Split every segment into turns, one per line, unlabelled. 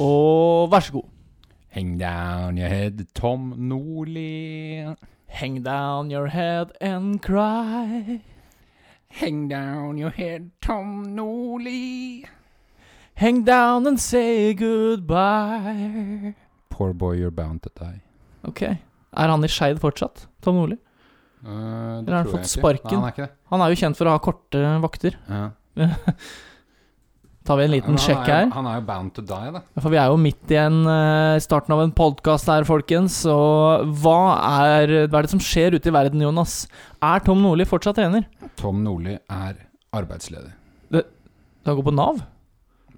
Og vær så god.
Hang down your head, Tom Nordli.
Hang down your head and cry.
Hang down your head, Tom Nordli.
Hang down and say goodbye.
Poor boy, you're bound to die.
Ok. Er han i Skeid fortsatt, Tom Nordli?
Uh,
Eller har han fått sparken?
Nei, han er ikke det.
Han er jo kjent for å ha korte vakter.
Ja.
Tar vi en liten
Men han
sjekk
er jo-
her?
Han er jo bound to die, da.
For vi er jo midt i en eh, starten av en podkast her, folkens. Og hva er, hva er det som skjer ute i verden, Jonas? Er Tom Nordli fortsatt trener?
Tom Nordli er arbeidsledig.
Han går på Nav?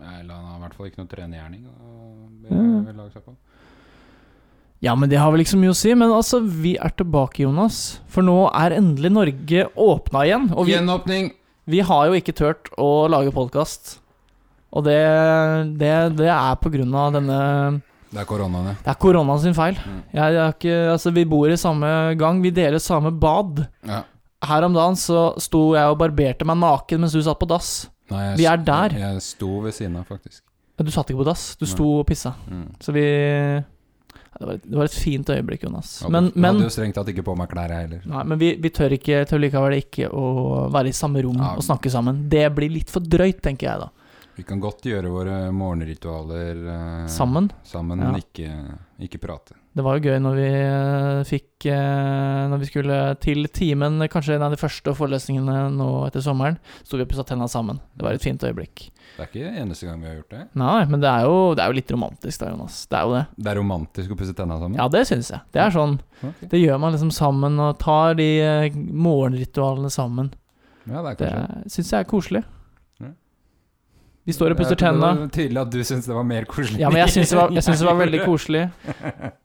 Eller han har i hvert fall ikke noe trenergjerning å
Ja.
be- lage seg på.
Ja, men det har vel ikke så mye å si. Men altså, vi er tilbake, Jonas. For nå er endelig Norge åpna igjen. Og vi,
Gjenåpning!
vi har jo ikke turt å lage podkast. Og det, det, det er på grunn av denne
Det er koronaen, ja.
Det er korona sin feil.
Mm.
Jeg, jeg har ikke, altså, vi bor i samme gang. Vi deler samme bad.
ja.
Her om dagen så sto jeg og barberte meg naken mens du satt på dass.
Nei, jeg
Vi er
sto-
der.
Jeg sto ved siden av, faktisk.
Ja, Du satt ikke på dass, du
Nei.
sto og pissa.
Mm.
Så vi ja, det, var et, det var et fint øyeblikk, Jonas.
Hadde-
Men,
Jeg
men,
hadde jo strengt tatt ikke på meg klær, jeg heller.
nei, men vi, vi tør, ikke, tør likevel ikke å være i samme rom
Ja.
og snakke sammen. Det blir litt for drøyt, tenker jeg da.
Vi kan godt gjøre våre morgenritualer eh,
Sammen.
sammen
Ja.
men ikke, ikke prate.
Det var jo gøy når vi eh, fikk eh, Når vi skulle til timen, kanskje en av de første forelesningene nå etter sommeren, sto vi og pussa tenna sammen. Det var et fint øyeblikk.
Det er ikke eneste gang vi har gjort det.
Nei, men det er jo, det er jo litt romantisk da, Jonas. Det er jo det.
Det er romantisk å pusse tenna sammen.
Ja, det syns jeg. Det er sånn
Ok.
Det gjør man liksom sammen, og tar de eh, morgenritualene sammen.
ja det er
Det
kanskje
syns jeg er koselig.
Ja.
Vi står og pusser
Det er-
tenna.
Det var tydelig at du syns det var mer koselig.
Ja, men jeg syns det, var- jeg syns det var veldig koselig.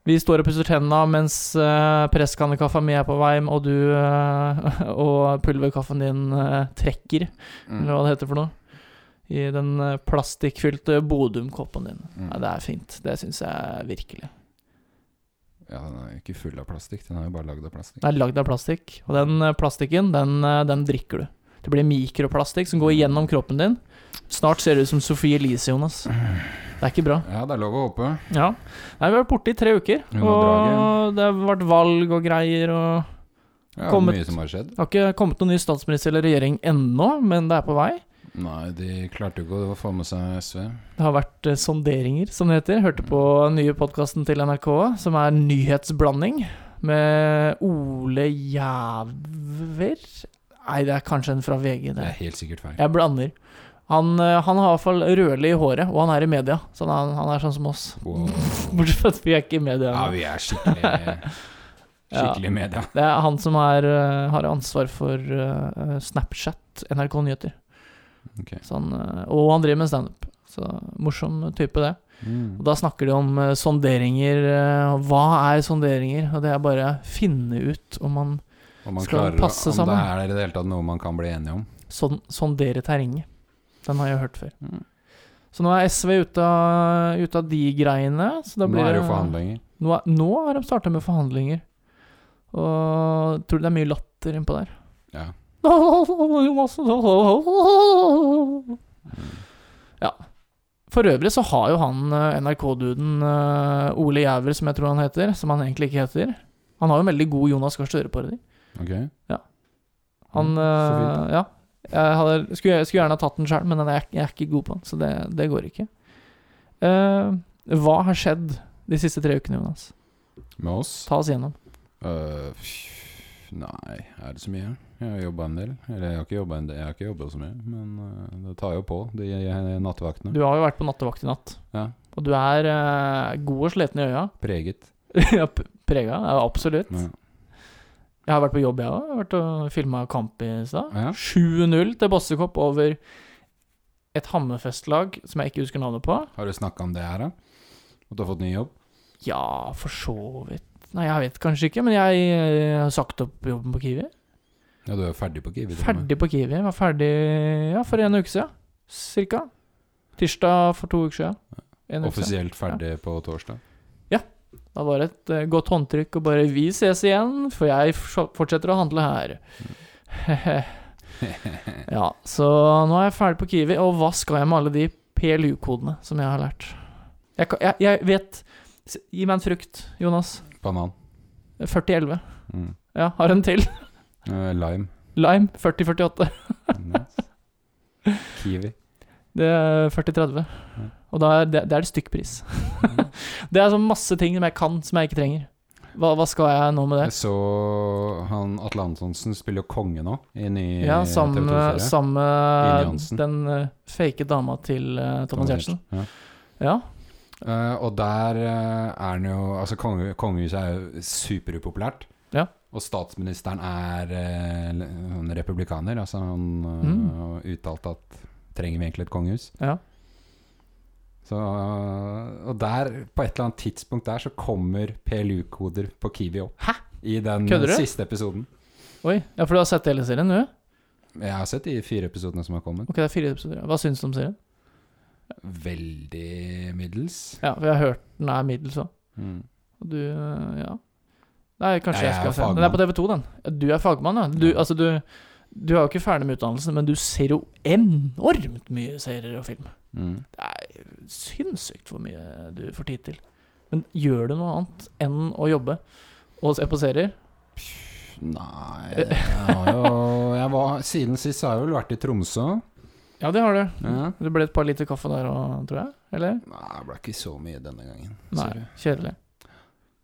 Vi står og pusser tenna mens uh, presskannekaffa mi er på vei, og du eh, og pulverkaffen din eh, trekker, eller
Mm.
hva det heter for noe, i den eh, plastikkfylte Bodum-koppen din.
Mm.
Ja, det er fint. Det syns jeg virkelig.
Ja, den er jo ikke full av plastikk. Den er jo bare lagd av plastikk.
Den er lagd av plastikk, og den eh, plastikken, den, eh, den drikker du. Det blir mikroplastikk som går gjennom kroppen din. Snart ser du ut som Sophie Elise, Jonas. Det er ikke bra.
Ja, det er lov å håpe.
Ja. Nei, vi har vært borte i tre uker,
Hun var
og det har vært valg og greier, og
Ja,
Kommet-
Mye som har skjedd.
det har ikke kommet noen ny statsminister eller regjering ennå, men det er på vei.
Nei, de klarte jo ikke å få med seg SV.
Det har vært eh, sonderinger, som det heter. Hørte på den nye podkasten til NRK, som er nyhetsblanding, med Ole Jæver Nei, det er kanskje en fra VG,
Det
det.
er helt sikkert feil.
Jeg blander. Han, eh, han har i hvert fall rødlig i håret, og han er i media, så han er, han er sånn som oss.
Wow.
Bortsett fra at vi er ikke i media.
Ja, vi er skikkelig Skikkelig media.
Det er han som er, eh, har ansvar for eh, Snapchat, NRK Nyheter.
Ok.
Så han, eh, og han driver med standup. Så morsom type, det. Og da snakker de om eh, sonderinger. eh, og hva er sonderinger? Og det er bare finne ut om man
Om man
Skal
klarer å-
passe
om
sammen.
det er i det hele tatt noe man kan bli enige om.
son sondere terrenget. Den har jeg hørt før.
Mm.
Så nå er SV ute av, ute av de greiene. Så da
Nå
blir
er det jo
det-
forhandlinger.
Nå, er- nå har de starta med forhandlinger. Og tror du det er mye latter innpå der?
Ja.
Ja. For øvrig så har jo han eh, NRK-duden eh, Ole Jæver, som jeg tror han heter, som han egentlig ikke heter Han har jo en veldig god Jonas Gahr Støre-parodi.
Ok.
Han
Mm, så fint.
eh, Ja. Jeg hadde, skulle, skulle gjerne ha tatt den sjøl, men den er, jeg- jeg er ikke god på den, så det, det går ikke. Eh, hva har skjedd de siste tre ukene, Jonas?
Med oss?
Ta oss gjennom.
Øh, pff, nei, er det så mye? Jeg har jobba en del. Eller jeg har ikke jobba en del, jeg har ikke jobbet så mye, men øh, det tar jo på, de eh, nattevaktene.
Du har jo vært på nattevakt i natt,
Ja.
og du er eh, god og sliten i øya.
Preget.
Ja, p- Prega, ja, absolutt.
Ja.
Jeg har vært på jobb, jeg òg. Vært og filma kamp i stad.
Ja.
7-0 til Bossekopp over et Hammerfest-lag som jeg ikke husker navnet på.
Har du snakka om det her, da? At du har fått ny jobb?
Ja, for så vidt Nei, jeg vet kanskje ikke, men jeg eh, har sagt opp jobben på Kiwi.
Ja, du er jo ferdig på Kiwi. til og med.
Ferdig på Kiwi. Jeg Var ferdig ja, for en uke siden, cirka. Tirsdag for to uker siden. En uke siden.
Offisielt ferdig på torsdag.
Da var det et eh, godt håndtrykk og bare 'vi ses igjen', for jeg f- fortsetter å handle her. ja, så nå er jeg ferdig på Kiwi, og hva skal jeg med alle de PLU-kodene som jeg har lært? Jeg, kan- jeg, jeg vet S- Gi meg en frukt, Jonas.
Banan.
4011.
Mm.
Ja, har en til.
Eh, lime.
Lime 4048.
Nice. Mm. Kiwi.
Det er 4030.
Mm.
Og da er det, det er det stykkpris. det er sånn masse ting som jeg kan, som jeg ikke trenger. Hva, hva skal jeg nå med det?
Jeg så han Atle Antonsen spiller jo konge nå, i ny eh,
Ja, eh, sammen med,
TV2-serie.
sammen
Ine
med
Johansen.
den eh, fake dama til eh, Thomas Giertsen.
Ja.
Ja.
Eh, og der eh, er han jo Altså, konge, kongehuset er jo superupopulært.
Ja.
Og statsministeren er eh, le- han er republikaner. Altså, han
Mm.
eh, uttalte at Trenger vi egentlig et kongehus?
Ja.
Så, eh, og der, på et eller annet tidspunkt der, så kommer PLU-koder på Kiwi opp.
Hæ?
I den
Kødder du?
siste episoden.
Oi. Ja, for du har sett hele serien nå?
Jeg har sett de fire episodene som har kommet.
Ok, det er fire episoder. ja. Hva syns du om serien?
Veldig middels.
Ja, for jeg har hørt den er middels òg.
Mm.
Og du eh, Ja. Nei, kanskje
Ja,
jeg,
jeg
skal
er
se den. Den er på TV2, den. Ja, Du er fagmann, ja. Du, altså, du, du er jo ikke ferdig med utdannelsen, men du ser jo enormt mye serier og film.
Mm.
Det er sinnssykt hvor mye du får tid til. Men gjør du noe annet enn å jobbe og se på serier?
Nei jeg har jo, jeg var, Siden sist har jeg vel vært i Tromsø.
Ja, det har du.
Ja.
Det ble et par liter kaffe der òg, tror jeg? Eller?
Nei, det ble ikke så mye denne gangen.
Nei,
Sorry.
kjedelig.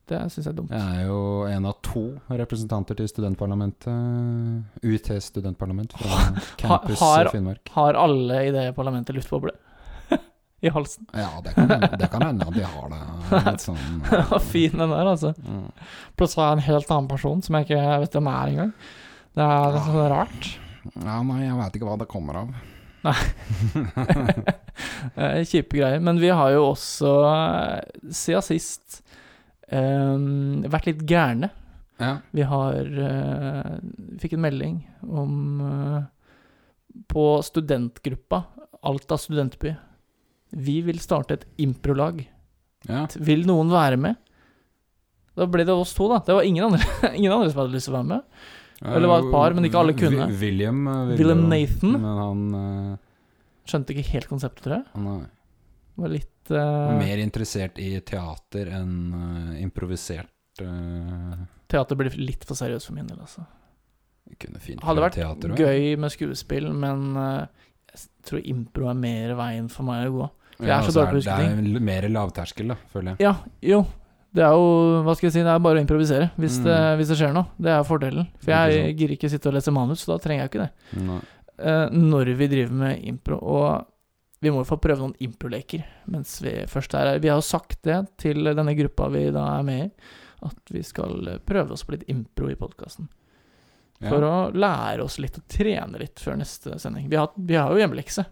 Det syns jeg er dumt.
Jeg er jo en av to representanter til studentparlamentet. UiT studentparlament fra campus
har-
i Finnmark.
Har alle i det parlamentet luftboble? I halsen.
Ja, det kan hende- det kan hende at de har det litt sånn
fin den der, altså.
mm.
Plutselig er jeg en helt annen person som jeg ikke vet hvem er engang. Det
Ah.
er litt sånn rart.
Ja, nei, jeg veit ikke hva det kommer av.
Eh, Kjipe greier. Men vi har jo også, eh, siden sist, eh, vært litt gærne.
Ja.
Vi har eh, Fikk en melding om eh, På studentgruppa Alta studentby. Vi vil starte et improlag.
ja.
Vil noen være med? Da ble det oss to, da. Det var ingen andre, ingen andre som hadde lyst til å være med. Eller var et par, men ikke alle kunne.
Vi- William eh, ville
William
jo,
Nathan.
Men han,
Skjønte ikke helt konseptet, tror jeg.
eh, han er
Det var litt eh,
mer interessert i teater enn eh, improvisert. eh,
Teater blir litt for seriøst for min del, altså.
kunne fint
Hadde
prøvd
vært
teater også.
Gøy med skuespill, men eh, jeg tror impro er mer veien for meg å gå. For jeg er så
altså,
dårlig på å huske
Det er l- mer lavterskel, da, føler jeg.
Ja, jo. Det er jo Hva skal jeg si, det er bare å improvisere hvis, det,
Mm.
hvis det skjer noe. Det er fordelen. For
Ikke
jeg gidder ikke sitte og lese manus, så da trenger jeg ikke det.
Nei.
Eh, når vi driver med impro, og vi må jo få prøve noen improleker mens vi først er her. Vi har jo sagt det til denne gruppa vi da er med i, at vi skal eh, prøve oss på litt impro i podkasten.
Ja.
For å lære oss litt og trene litt før neste sending. Vi har, vi har jo hjemmelekse.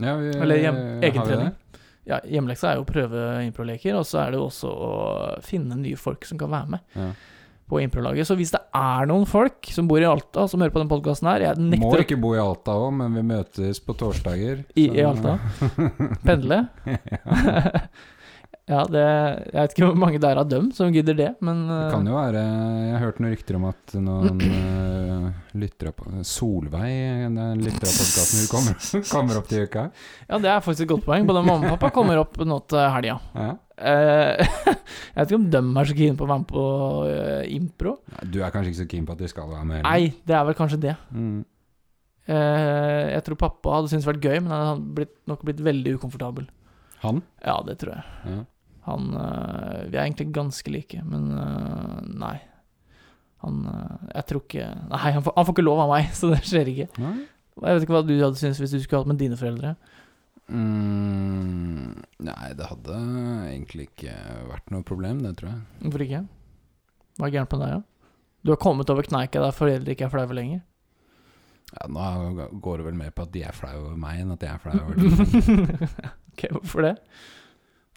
ja, vi,
Eller hjem,
har vi
egentrening.
det?
Ja, hjemmeleksa er jo å prøve improleker, og så er det jo også å finne nye folk som kan være med
Ja.
på improlaget. Så hvis det er noen folk som bor i Alta som hører på den podkasten her, jeg
Må
nekter å
ikke bo i Alta òg, men vi møtes på torsdager.
i,
så-
i Alta pendle. ja, det Jeg vet ikke hvor mange der av dem som gidder det, men eh,
Det kan jo være Jeg har hørt noen rykter om at noen uh, lyttere på Solveig, den lytter av podkasten hun kommer, kommer opp til uka.
Ja, det er faktisk et godt poeng. Både mamma og pappa kommer opp nå til helga.
Ja.
Eh, jeg vet ikke om dem er så keen på å være med på eh, impro.
Nei, Du er kanskje ikke så keen på at de skal være med?
Nei, det er vel kanskje det.
Mm.
Eh, jeg tror pappa hadde syntes det vært gøy, men han hadde blitt, nok blitt veldig ukomfortabel.
Han?
Ja, det tror jeg.
Ja.
Han eh, Vi er egentlig ganske like, men eh, nei. Han eh, Jeg tror ikke Nei, han får, han får ikke lov av meg, så det skjer ikke.
Nei?
Jeg vet ikke hva du hadde syntes hvis du skulle hatt med dine foreldre.
Mm, nei, det hadde egentlig ikke vært noe problem, det tror jeg.
Hvorfor ikke? Hva er gærent med deg, da? Du har kommet over kneika der foreldre ikke er flaue lenger.
Ja, nå går det vel mer på at de er flau over meg, enn at jeg er flau over dem.
ok, hvorfor det?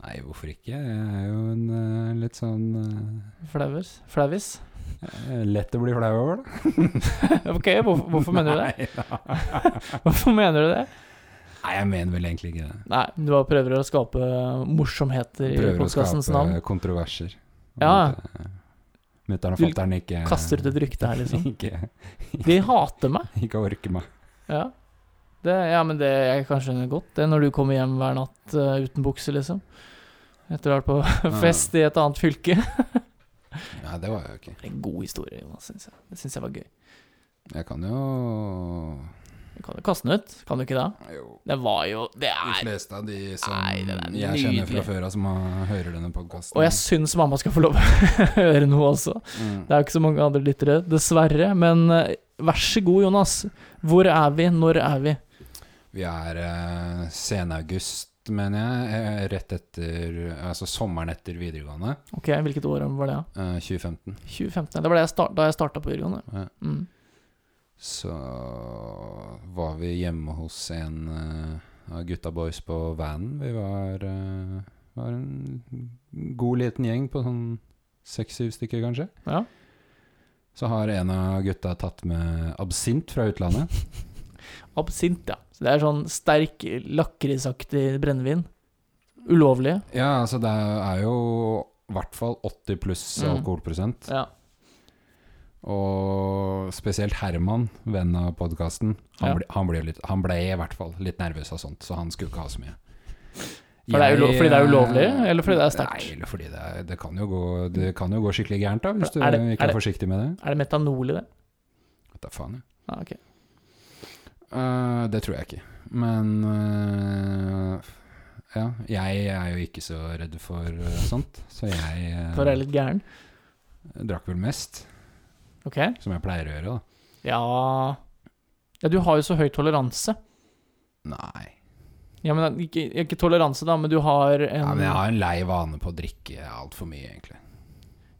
Nei, hvorfor ikke? Jeg er jo en eh, litt sånn
Flauers? Flauvis?
eh, Lett å bli flau over, da.
ok, hvorfor, hvorfor mener du det?
Nei, da.
Hvorfor mener du det?
Nei, jeg mener vel egentlig ikke det.
Nei, du bare prøver å skape morsomheter i
Prøver å
podkastens
skape
navn.
kontroverser.
Ja.
Mutter'n og
Du
fatter'n ikke
Kaster ut et rykte her, liksom.
ikke,
De hater meg.
ikke orker meg.
Ja. Det, ja, men det jeg kan skjønne godt, det, når du kommer hjem hver natt eh, uten bukse, liksom. etter å ha vært på fest i et annet fylke.
Nei, det var jeg jo ikke.
Det er en god historie, Jonas, syns jeg. Det syns jeg var gøy.
Jeg kan jo
Du kan jo kaste den ut, kan du ikke det?
Jo.
Det var jo Det
De
er
fleste av de som
Nei, det er
jeg kjenner fra
nydelig.
før av, som har, hører denne podkasten.
Og jeg syns mamma skal få lov å høre noe også.
Mm.
Det er jo ikke så mange andre lyttere, dessverre. Men eh, vær så god, Jonas. Hvor er vi? Når er vi?
Vi er eh, senaugust, mener jeg. eh, Rett etter Altså sommeren etter videregående.
Ok, Hvilket år var det? da?
eh, 2015.
2015? Det var det jeg start, da jeg starta på videregående.
Ja.
Mm.
Så var vi hjemme hos en eh, av gutta boys på vanen. Vi var, eh, var en god liten gjeng på sånn seks-syv stykker, kanskje.
Ja.
Så har en av gutta tatt med absint fra utlandet.
Absint, ja. Så det er sånn sterk, lakrisaktig brennevin. Ulovlig.
Ja, altså det er jo i hvert fall 80 pluss
Mm.
alkoholprosent.
Ja.
Og spesielt Herman, venn av podkasten, han,
Ja.
ble, han, ble litt- han ble i hvert fall litt nervøs av sånt, så han skulle ikke ha så mye.
For det er ulo- fordi det er ulovlig,
eh,
eller fordi det er sterkt?
Nei, eller fordi det, er, det, kan jo gå, det kan jo gå skikkelig gærent, da, hvis du
Er det-
ikke
er
er,
det-
forsiktig med det.
Er det metanol i det?
Vet da faen, jeg.
Ja, Ah, ok.
Eh, det tror jeg ikke. Men eh, ja, jeg er jo ikke så redd for eh, sånt, så jeg eh,
For jeg er litt gæren.
drakk vel mest,
Ok.
som jeg pleier å gjøre, da.
Ja Ja, du har jo så høy toleranse.
Nei.
Ja, men eh, ikke, ikke toleranse, da, men du har en
Ja, men jeg har en lei vane på å drikke altfor mye, egentlig.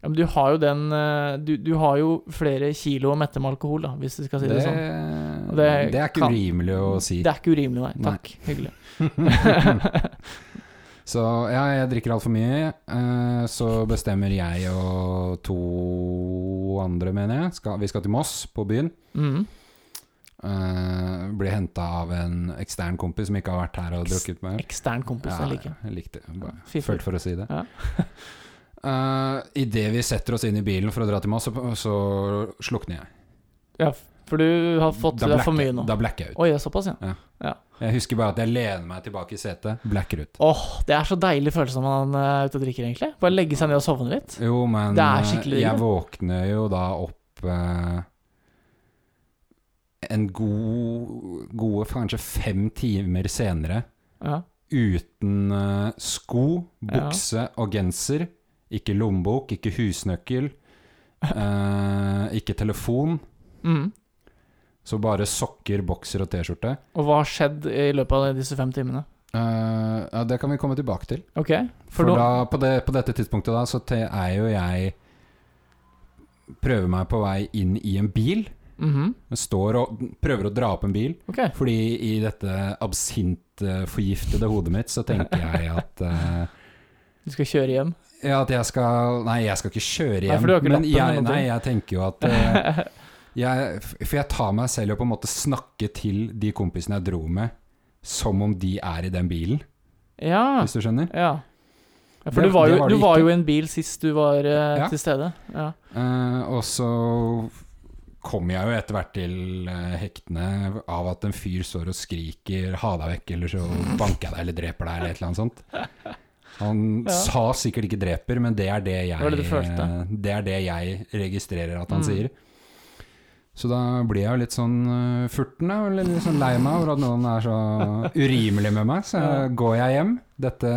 Ja, men du har jo den eh, du, du har jo flere kilo å mette med alkohol, da, hvis du skal si det, sånn. Og
det,
det
er ikke
kan-
urimelig å si.
Det er ikke urimelig, nei.
Nei.
Takk. Hyggelig.
Så ja, jeg drikker altfor mye. eh, Så bestemmer jeg og to andre, mener jeg. Skal, vi skal til Moss, på byen.
Mm.
Eh, blir henta av en ekstern kompis som ikke har vært her og
Eks-
drukket med øl.
Ekstern kompis, jeg liker.
jeg likte det. Bare
Fy
Følte for å si det.
Ja.
Eh, I Idet vi setter oss inn i bilen for å dra til Moss, så, så slukner jeg.
Ja, for du har fått i deg for mye nå.
da blacker jeg ut.
Oi, det er såpass, ja.
Jeg husker bare at jeg lener meg tilbake i setet, blacker ut.
Åh, det er så deilig følelse når man eh, er ute og drikker, egentlig. Bare legge seg ned og sovne litt.
Jo, men
Det er
eh,
skikkelig
jeg
ille.
våkner jo da opp eh, en god Gode kanskje fem timer senere
Ja.
uten eh, sko,
Ja.
bukse og genser. Ikke lommebok, ikke husnøkkel, eh, ikke telefon.
Mm.
Så bare sokker, bokser og T-skjorte.
Og hva har skjedd i løpet av disse fem timene?
Eh, ja, det kan vi komme tilbake til.
Ok,
For,
for nå
da, på, det, på dette tidspunktet da, så te- er jo jeg Prøver meg på vei inn i en bil.
Mhm.
Jeg står og prøver å dra opp en bil.
Ok.
Fordi i dette absintforgiftede hodet mitt, så tenker jeg at eh,
Du skal kjøre hjem.
Ja, at jeg skal Nei, jeg skal ikke kjøre
Nei,
hjem.
for du har ikke
men
lappen eller
jeg,
noe.
nei, jeg tenker jo at eh, jeg, f- For jeg tar meg selv og på en måte snakker til de kompisene jeg dro med, som om de er i den bilen,
Ja.
hvis du skjønner.
Ja. ja for
Det-
du var,
det
jo,
var det
du var
ikke.
jo i en bil sist du var eh,
Ja.
til stede. Ja.
Eh, og så kommer jeg jo etter hvert til eh, hektene av at en fyr står og skriker 'ha deg vekk', eller så banker jeg deg eller dreper deg, eller et eller annet sånt. Han
Ja.
sa sikkert ikke 'dreper', men det er det jeg,
Det var det du følte.
det er det jeg registrerer at han
Mm.
sier. Så da blir jeg jo litt sånn eh, furten, da, eller litt sånn lei meg over at noen er så urimelig med meg. Så
Ja.
går jeg hjem. Dette,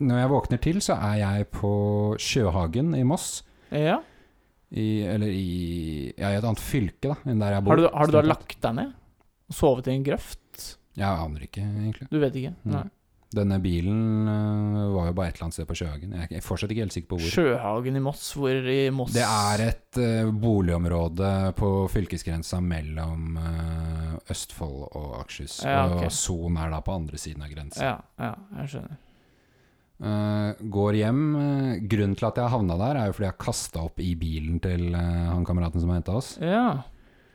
når jeg våkner til, så er jeg på Sjøhagen i Moss.
ja.
I, eller i Ja, i et annet fylke, da, enn der jeg bor.
Har du, har du da
Stort sett.
lagt deg ned? Og sovet i en grøft?
Jeg aner ikke, egentlig.
Du vet ikke? Nei.
Mm. Denne bilen øh, var jo bare et eller annet sted på Sjøhagen. Jeg er ikke- jeg er fortsatt ikke helt sikker på hvor.
Sjøhagen i Moss? Hvor i Moss?
Det er et øh, boligområde på fylkesgrensa mellom øh, Østfold og Akershus.
Ja, ok.
Og Son er da på andre siden av grensa.
Ja, ja, jeg skjønner.
Eh, går hjem. eh, Grunnen til at jeg havna der, er jo fordi jeg kasta opp i bilen til eh, han kameraten som henta oss.
Ja.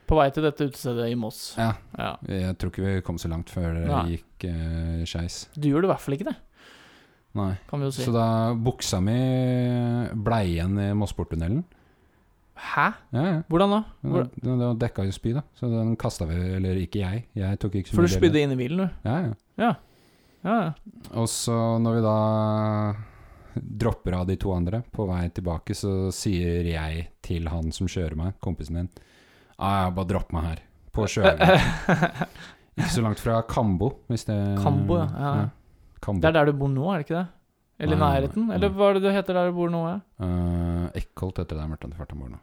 På vei til dette utestedet i Moss.
Ja.
ja.
Jeg tror ikke vi kom så langt før det
Nei.
gikk uh, skeis.
Du gjorde i hvert fall ikke det,
Nei.
kan vi jo si.
Så da buksa mi blei igjen i Mossporttunnelen.
Hæ?
Ja, ja.
Hvordan da?
Den, den, den dekka jo spy, da. Så den kasta vi Eller ikke jeg. Jeg tok ikke så
For du
mye del i
spydde inn i bilen, du?
det. Ja, ja.
Ja, ja.
Og så når vi da dropper av de to andre. På vei tilbake så sier jeg til han som kjører meg, kompisen min ah, ja, Bare dropp meg her. På Sjøveien. Ikke så langt fra Kambo, hvis det
Kambo, ja, ja.
Kambo.
Det er der du bor nå, er det ikke det? Eller
Nei,
nærheten?
nei.
Eller hva er det det heter der du bor nå? Ja?
Eh, Eckholt heter det der Mørtan til farta bor nå.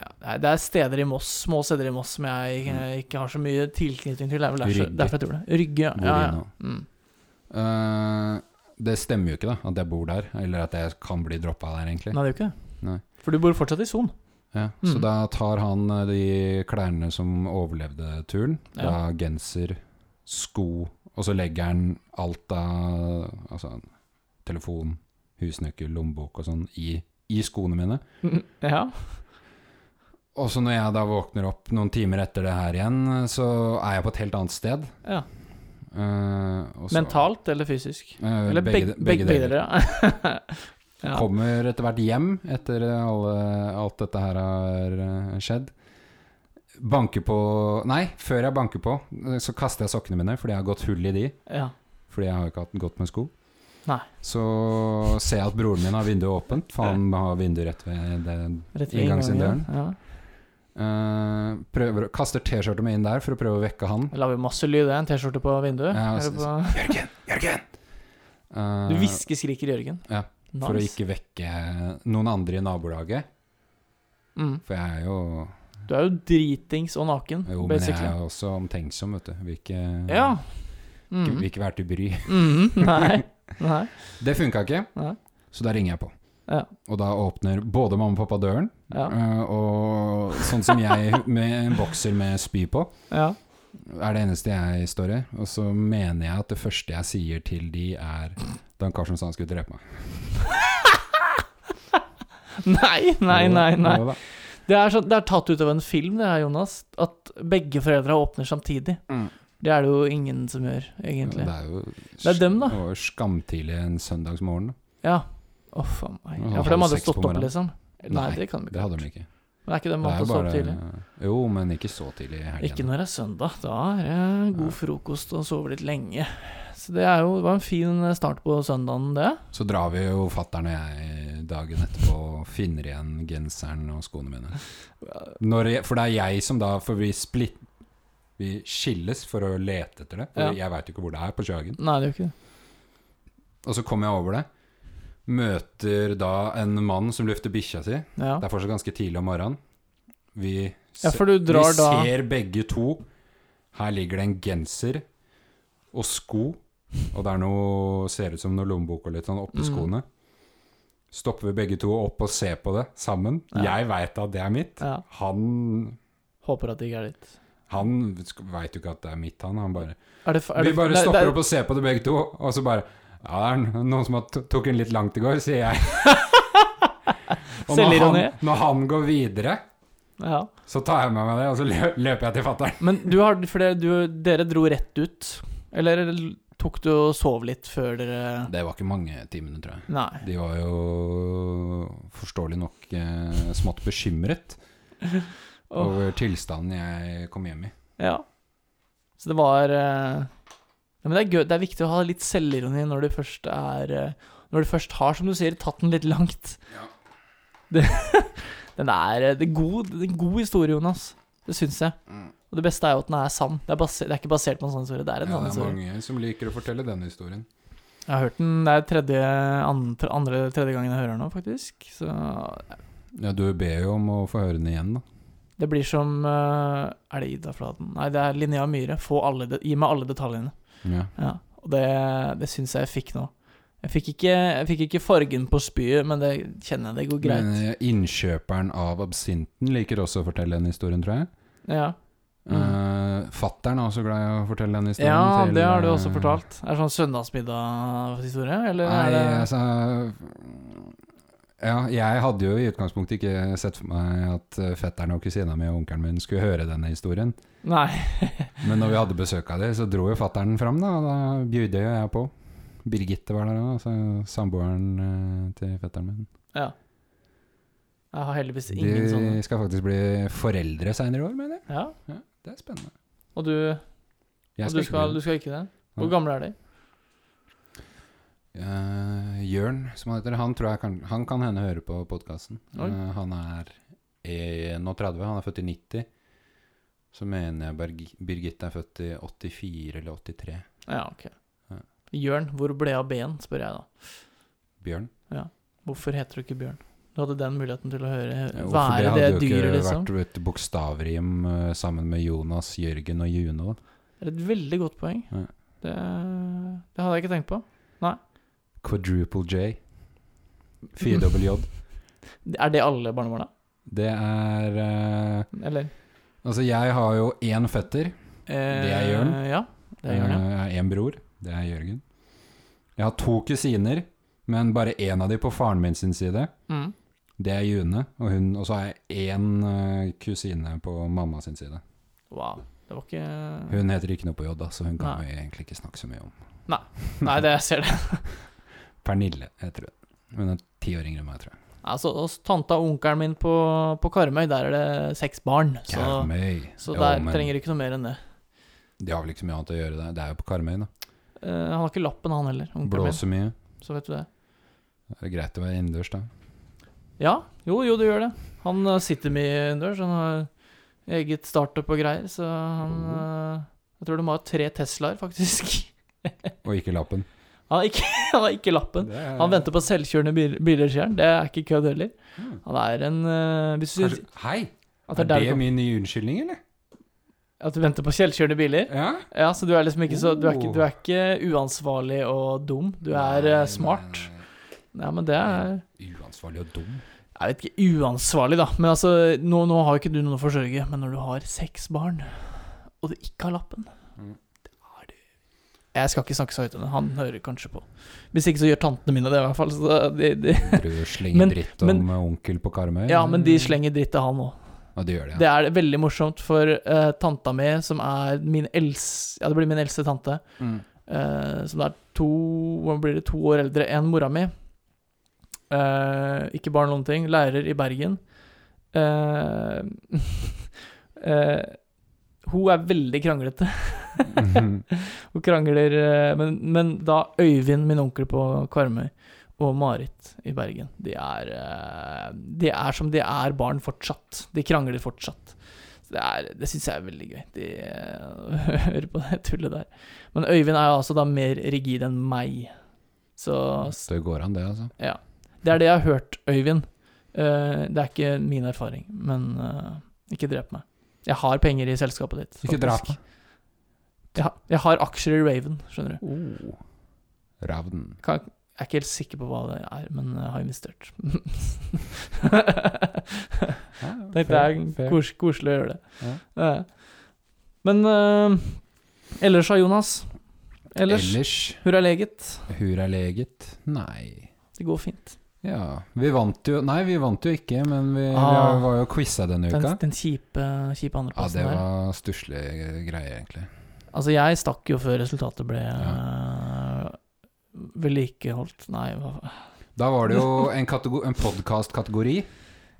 Ja, nei, det er steder i Moss, små steder i Moss som jeg eh, ikke har så mye tilknytning til. Det er vel derfor,
Mm. Rygge.
derfor jeg tror det. Rygge, ja.
Bor
ja,
i
ja.
nå.
Mm.
Eh, det stemmer jo ikke, da, at jeg bor der. Eller at jeg kan bli droppa der, egentlig.
Nei, det er jo ikke det.
Nei.
For du bor fortsatt i Son.
Ja, så
Mm.
da tar han eh, de klærne som overlevde turen.
Ja.
Da genser, sko, og så legger han alt av altså, telefon, husnøkkel, lommebok og sånn i, i skoene mine.
Ja.
Og så når jeg da våkner opp noen timer etter det her igjen, eh, så er jeg på et helt annet sted.
ja.
Eh, og så-
Mentalt eller fysisk?
Eh,
Eller begge, begge, deler. ja. ja.
Kommer etter hvert hjem etter alle, alt dette her har eh, skjedd. Banker på Nei, før jeg banker på, eh, så kaster jeg sokkene mine, fordi jeg har gått hull i de.
Ja.
Fordi jeg har jo ikke hatt gått med sko.
Nei.
Så ser jeg at broren min har vinduet åpent, for han har vinduet rett ved det.
Rett ved
Inngangsdøren.
inngangen. Ja.
Eh, prøver, å- kaster T-skjorta mi inn der for å prøve å vekke han.
Jeg lager masse lyd, det. En T-skjorte på vinduet.
Ja,
Er det på...
Jørgen! Jørgen! Eh,
Du hviskeskriker Jørgen.
ja,
nice.
for å ikke vekke noen andre i nabolaget.
mm.
For jeg er jo
Du er jo dritings og naken,
Jo, men jeg
basically.
er også omtenksom, vet du. Vil ikke,
Ja.
ikke,
Mm.
vil ikke være til bry.
Mhm. Nei. Nei.
Det funka ikke,
Nei.
så da ringer jeg på.
Ja.
Og da åpner både mamma og pappa døren,
Ja.
eh, og sånn som jeg med en bokser med spy på,
Ja.
er det eneste jeg står i. Og så mener jeg at det første jeg sier til de, er Dan Karsten sa han skulle drepe meg.
Nei, nei,
Jo da,
nei. nei.
jo da.
Det er, sånn- det er tatt ut av en film, det her, Jonas. At begge foreldra åpner samtidig.
Mm.
Det er det jo ingen som gjør, egentlig.
Det er jo
Det er dem, da.
det var jo skamtidlig en søndagsmorgen.
Ja. Å, faen meg.
Ja,
Ja, for de
halv
hadde
seks på
stått opp,
morgenen.
liksom? Nei,
Nei,
det kan de
Det
ikke.
hadde de ikke.
Men er ikke de
Det er
vant til å
jo
stå opp tidlig?
Jo, men ikke så tidlig i helgen.
Ikke når det er søndag. Da er det
Ja.
god frokost og sove litt lenge. Så det er jo, det var en fin eh, start på søndagen, det.
Så drar vi jo fatter'n og jeg dagen etterpå og finner igjen genseren og skoene mine. Når jeg, for det er jeg som da For vi splitt... Vi skilles for å lete etter det. For
Ja.
Jeg veit jo ikke hvor det er på Sjøhagen.
Nei, det er jo ikke det.
Og så kommer jeg over det. Møter da en mann som lufter bikkja si. Det
Ja.
er fortsatt ganske tidlig om morgenen. Vi,
ja, for du
se-
drar
vi
da
ser begge to. Her ligger det en genser og sko, og det er noe, ser ut som noe lommebok og litt sånn oppi
Mm.
skoene. Stopper vi begge to opp og ser på det sammen.
Ja.
Jeg veit at det er mitt.
ja.
Han
Håper at det ikke er ditt.
han veit jo ikke at det er mitt, han. han bare,
Er det, f- er
vi
det,
bare
det-
stopper
det-
opp og ser på det begge to, og så bare Ja, det er noen som har t- tok en litt langt i går, sier jeg. og når han,
Selvironi.
når han går videre,
Ja.
så tar jeg med meg det, og så lø- løper jeg til fatter'n.
Men du har, for det, du, dere dro rett ut, eller tok du og sov litt før dere
Det var ikke mange timene, tror jeg.
Nei.
De var jo forståelig nok eh, smått bekymret
Åh,
over tilstanden jeg kom hjem i.
ja. Så det var eh, ja, Men det er, gøy, det er viktig å ha litt selvironi når du først er eh, Når du først har, som du sier, tatt den litt langt.
Ja.
Det, den er, eh, det er, god, det er en god historie, Jonas. Det syns jeg.
Mm.
Og det beste er jo at den er sann. Det er, base, det er ikke basert på en sann historie. Det er en
Ja, det
sann
er
historie.
mange som liker å fortelle den historien.
Jeg har hørt den. Det er tredje, andre, andre tredje gangen jeg hører den nå, faktisk. Så
Ja, du ber jo om å få høre den igjen, da.
Det blir som eh, Er det Ida Fladen? Nei, det er Linnea Myhre. Få alle de, gi meg alle detaljene.
Ja.
Ja. Og det, det syns jeg jeg fikk nå. Jeg fikk, ikke, jeg fikk ikke fargen på spyet, men det kjenner jeg det går greit.
Men eh, innkjøperen av absinten liker også å fortelle den historien, tror jeg.
Ja, Mm.
Mm. Fattern er også glad i å fortelle den historien.
ja
til,
det har du
eh,
også fortalt. Er det sånn søndagsmiddagshistorie, eller
Nei,
er det
altså Ja, jeg hadde jo i utgangspunktet ikke sett for meg at eh, fetteren og kusina mi og onkelen min skulle høre denne historien.
Nei.
Men når vi hadde besøk av dem, så dro jo fattern fram, da. Og da bjudde jo jeg på. Birgitte var der òg, altså samboeren eh, til fetteren min.
Ja. Jeg har heldigvis
De
ingen sånne.
skal faktisk bli foreldre seinere i år, mener jeg.
Ja.
Det er spennende.
Og du,
Jeg
og du,
ikke bli
skal,
det.
du skal ikke det?
Nei.
Hvor gamle er de?
Eh, Jørn, som han heter, han tror jeg kan, han kan hende høre på podkasten.
Oi.
han er 31, han er født i 90. Så mener jeg Berg- Birgitte er født i 84 eller 83.
Ja, ok.
Ja.
Jørn, hvor ble av B-en, spør jeg da.
Bjørn.
Hvorfor heter du ikke Bjørn? Du hadde den muligheten til å høre
Ja, hvorfor
være det,
hadde jo
dyret,
ikke
liksom.
vært et bokstavrim eh, sammen med Jonas, Jørgen og Juno.
Det er et veldig godt poeng.
Ja.
Det, det hadde jeg ikke tenkt på.
Quadruple J. 4WJ.
Er det alle barnebarna?
Det er eh,
Eller?
Altså, jeg har jo én fetter. Det er Jørn.
Eh, Ja, det er Jørn, ja.
Eh, Jeg har én bror. Det er Jørgen. Jeg har to kusiner, men bare én av de på faren min sin side.
Mm.
Det er June. Og, hun, og så har jeg én eh, kusine på mamma sin side.
Wow. Det var ikke
Hun heter ikke noe på J, da, så hun kan
Nei.
vi egentlig ikke snakke så mye om.
Nei, det, jeg ser det.
Pernille heter hun. Hun er ti år yngre enn meg, tror jeg.
Altså, hos tanta og onkelen min på, på Karmøy, der er det seks barn. Så,
Karmøy.
så
Jo,
der
men
trenger du ikke noe mer enn det.
De har vel ikke så mye annet å gjøre der. Det er jo på Karmøy, da.
Eh, han har ikke lappen, han heller. Onkelen min.
Blåser mye.
Så vet du det.
Det er greit å være innendørs, da.
Ja, jo, jo, det gjør det. Han eh, sitter mye innendørs. Han har eget startup og greier, så han
Mm.
eh, Jeg tror de har tre Teslaer, faktisk.
Og ikke lappen.
Han har ikke, han har ikke lappen.
Det er-
Han venter på selvkjørende bil, biler, sier han. Det er ikke kødd heller.
Mm.
Han er en eh, Hvis du
Kanskje, hei!
at det
Er
er der du
det
kom-
min nye unnskyldning, eller?
At du venter på selvkjørende biler?
Ja?
Ja, så du er liksom ikke så Du er ikke,
Oh.
du er ikke uansvarlig og dum. Du er
Nei,
eh,
nei,
smart.
nei.
Nei, men det er
Uansvarlig og dum.
Jeg vet ikke uansvarlig, da. Men altså, nå, nå har ikke du noen å forsørge. Men når du har seks barn, og du ikke har lappen
Mm.
Da er du Jeg skal ikke snakke så høyt om det. Han hører kanskje på. Hvis ikke så gjør tantene mine det, i hvert fall. Så de, de,
Prøver å slenge
Men-
dritt om
men-
onkel på Karmøy.
ja, men de slenger dritt til han òg.
Ja, de gjør det.
Det er veldig morsomt for eh, tanta mi, som er min els... Ja, det blir min eldste tante.
Ja. Mm.
eh, som er to Hva blir det? To år eldre enn mora mi. Eh, ikke barn eller noen ting. Lærer i Bergen. Eh, eh, hun er veldig kranglete. Hun krangler eh, men, men da Øyvind, min onkel på Karmøy, og Marit i Bergen De er, eh, de er som de er barn fortsatt. De krangler fortsatt. Så det er- det syns jeg er veldig gøy. De eh, hører på det tullet der. Men Øyvind er altså da mer rigid enn meg. Så
Så det går an, det, altså.
det er det jeg har hørt, Øyvind. Eh, det er ikke min erfaring, men eh, ikke drep meg. Jeg har penger i selskapet ditt.
Ikke drap
faktisk. Jeg, har- jeg har aksjer i Raven, skjønner du.
Oh. Ravn.
kan, jeg er ikke helt sikker på hva det er, men jeg har investert. Tenkte
Ja,
jeg
fair, fair.
kos, koselig å gjøre det. Eh, Men eh, ellers da, Jonas? Ellers?
Ellers
Hurra leget.
Hur er leget? Nei.
Det går fint.
Ja, vi vant jo Nei, vi vant jo ikke, men vi,
Ah.
vi var jo quiza denne
Den,
uka.
den kjipe, kjipe
Ja, det
andreplassen der.
var stusslige greier, egentlig.
Altså, jeg stakk jo før resultatet ble
Ja.
eh, vedlikeholdt. Nei, hva
Da var det jo en, kategor- en podkast-kategori.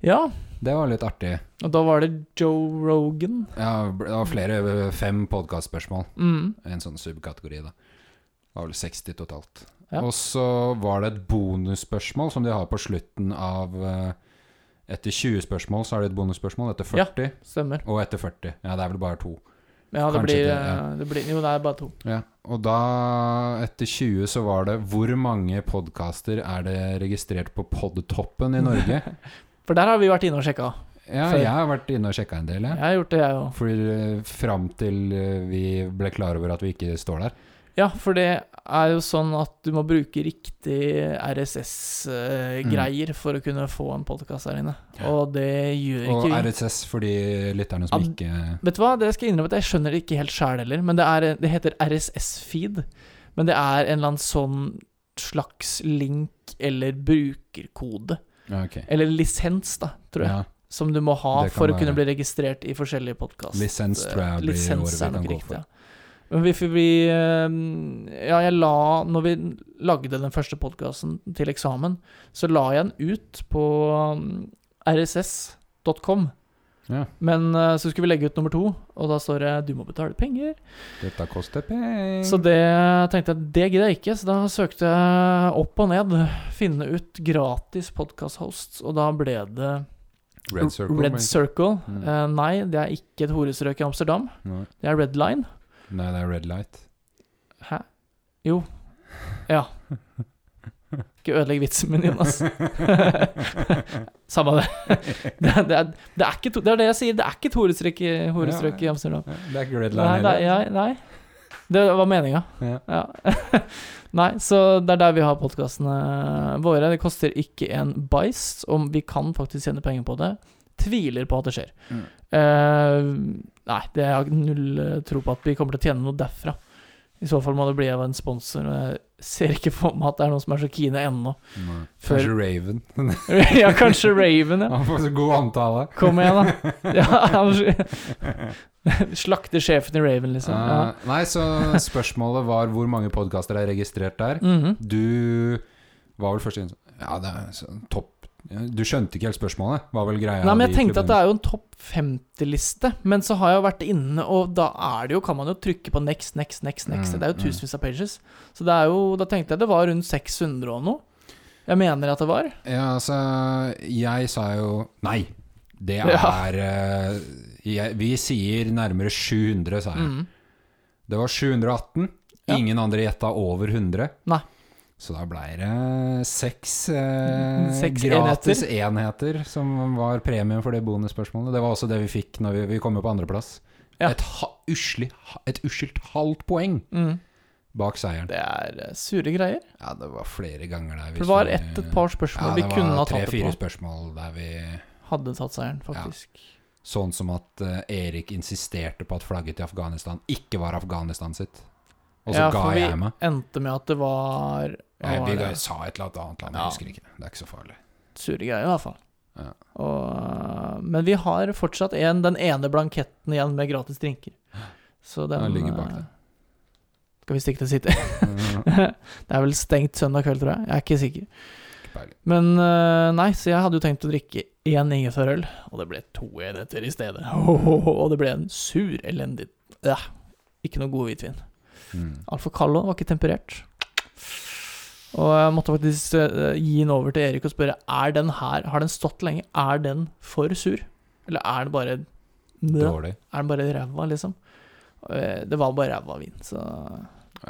Ja,
Det var litt artig.
og da var det Joe Rogan.
Ja, det var flere fem podkastspørsmål.
Mm.
En sånn subkategori, da. Det var vel 60 totalt.
Ja.
Og så var det et bonusspørsmål som de har på slutten av eh, Etter 20 spørsmål så er det et bonusspørsmål. Etter 40
Stemmer.
og etter 40. Ja, det er vel bare to.
Ja, det
Kanskje
blir,
det,
det,
ja.
det blir Jo, det er bare to.
Ja. Og da, etter 20, så var det Hvor mange podkaster er det registrert på Podtoppen i Norge?
For der har vi vært inne og sjekka.
Ja,
Før.
jeg har vært inne og sjekka en del, jeg.
Jeg har gjort det, jeg òg.
Fordi eh, fram til eh, vi ble klar over at vi ikke står der.
Ja, for det er jo sånn at du må bruke riktig RSS-greier for å kunne få en podkast her inne, og det gjør
Mm. Og
ikke vi.
RSS for de lytterne som
Ja,
ikke
Vet du hva, det skal jeg innrømme at jeg skjønner det ikke helt sjæl heller, men det, er, det heter RSS-feed. Men det er en eller annen sånn slags link eller brukerkode,
Ja, ok.
eller lisens, da, tror jeg,
Ja,
som du må ha
Det kan
for å
være-
kunne bli registrert i forskjellige podkaster.
lisens tror jeg blir
Eh, Lisens
året
er
vi kan
nok
gå
riktig,
for.
ja. Men vi, for vi eh, Ja, jeg la Når vi lagde den første podkasten til eh, eksamen, så la jeg den ut på mm, rss.com.
Ja.
Men eh, så skulle vi legge ut nummer to, og da står det 'du må betale penger'.
Dette koster penger.
Så det tenkte jeg, det gidder jeg ikke, så da søkte jeg opp og ned. Finne ut gratis podcast-hosts, og da ble det
Red Circle.
Red
men-
Circle.
Mm.
Eh, nei, det er ikke et horestrøk i Amsterdam.
Nei.
Det er Red Line.
Nei, det er Red Light.
Hæ? Jo. Ja. Ikke ødelegg vitsen min, Jonas. Samme det. Det, er- det, er, det, er ikke, to- det er det jeg sier, det er ikke et horestrøk i, horestrøk i Amsterdam.
Ja, Det er ikke Red
Nei,
Line
det, er- ja, nei. det var meninga.
Ja.
Ja. Nei, så det er der vi har podkastene våre. Det koster ikke en bæsj, om vi kan faktisk tjene penger på det. Tviler på at det skjer.
Mm.
Eh, nei, det har jeg null eh, tro på at vi kommer til å tjene noe derfra. I så fall må det bli av en sponsor. og Jeg ser ikke for meg at det er noen som er så keene ennå.
Nei.
Før-
Kanskje Raven.
ja, kanskje Raven, ja.
Han får så god antale.
Kom igjen, da. Ja, han- Slakte sjefen i Raven, liksom. Ja.
Eh, nei, så spørsmålet var hvor mange podkaster er registrert der.
Mhm.
Du var vel først inn Ja, det er sånn topp Du skjønte ikke helt spørsmålet? Var vel greia
Nei, men jeg
de
tenkte at det
klubbene-
er jo en topp 50-liste, men så har jeg jo vært inne, og da er det jo, kan man jo trykke på next, next, next, next.
Mm,
Det er jo
mm.
tusenvis av pages. Så det er jo, da tenkte jeg det var rundt 600 og noe. Jeg mener at det var.
Ja, altså Jeg sa jo Nei! Det er
Ja.
eh, jeg, Vi sier nærmere 700, sa jeg.
Mm.
Det var 718.
Ja.
Ingen andre gjetta over 100.
Nei.
Så da blei det seks, eh,
Mm, Seks
gratis enheter. som var premien for det bonusspørsmålet. Det var også det vi fikk når vi, vi kom jo på andreplass.
Ja.
Et, ha, uslig, et uskyldt halvt poeng
Mm.
bak seieren.
Det er eh, sure greier.
Ja, det var flere ganger der vi
For det var
skulle-
ett et par
ja,
spørsmål
det
vi
var
kunne ha tatt det
tre-fire
på.
spørsmål der vi
Hadde tatt seieren, faktisk.
Sånn som at eh, Erik insisterte på at flagget til Afghanistan ikke var Afghanistan sitt. Og så
Ja,
ga
for vi
jeg meg.
endte med at det var,
Nei,
hva
vi
var det?
sa et eller annet land, jeg
Ja.
husker ikke. Det er ikke så farlig.
sure greier, i hvert fall.
Ja.
Og, men vi har fortsatt en, den ene blanketten igjen med gratis drinker. Så den,
Den ligger bak der.
eh, Skal vi stikke til City? det er vel stengt søndag kveld, tror jeg. Jeg er ikke sikker.
Ikke peiling.
Men eh, nei, så jeg hadde jo tenkt å drikke én ingefærøl, og det ble to enheter i stedet. Og det ble en sur, elendig ja, Ikke noe god hvitvin.
Mm.
Altfor kald òg, var ikke temperert. Og jeg måtte faktisk eh, gi den over til Erik og spørre Er den her, har den stått lenge. Er den for sur? Eller er den bare Er
Dårlig.
den bare ræva, liksom? Eh, Det var bare ræva vin, så
Ja,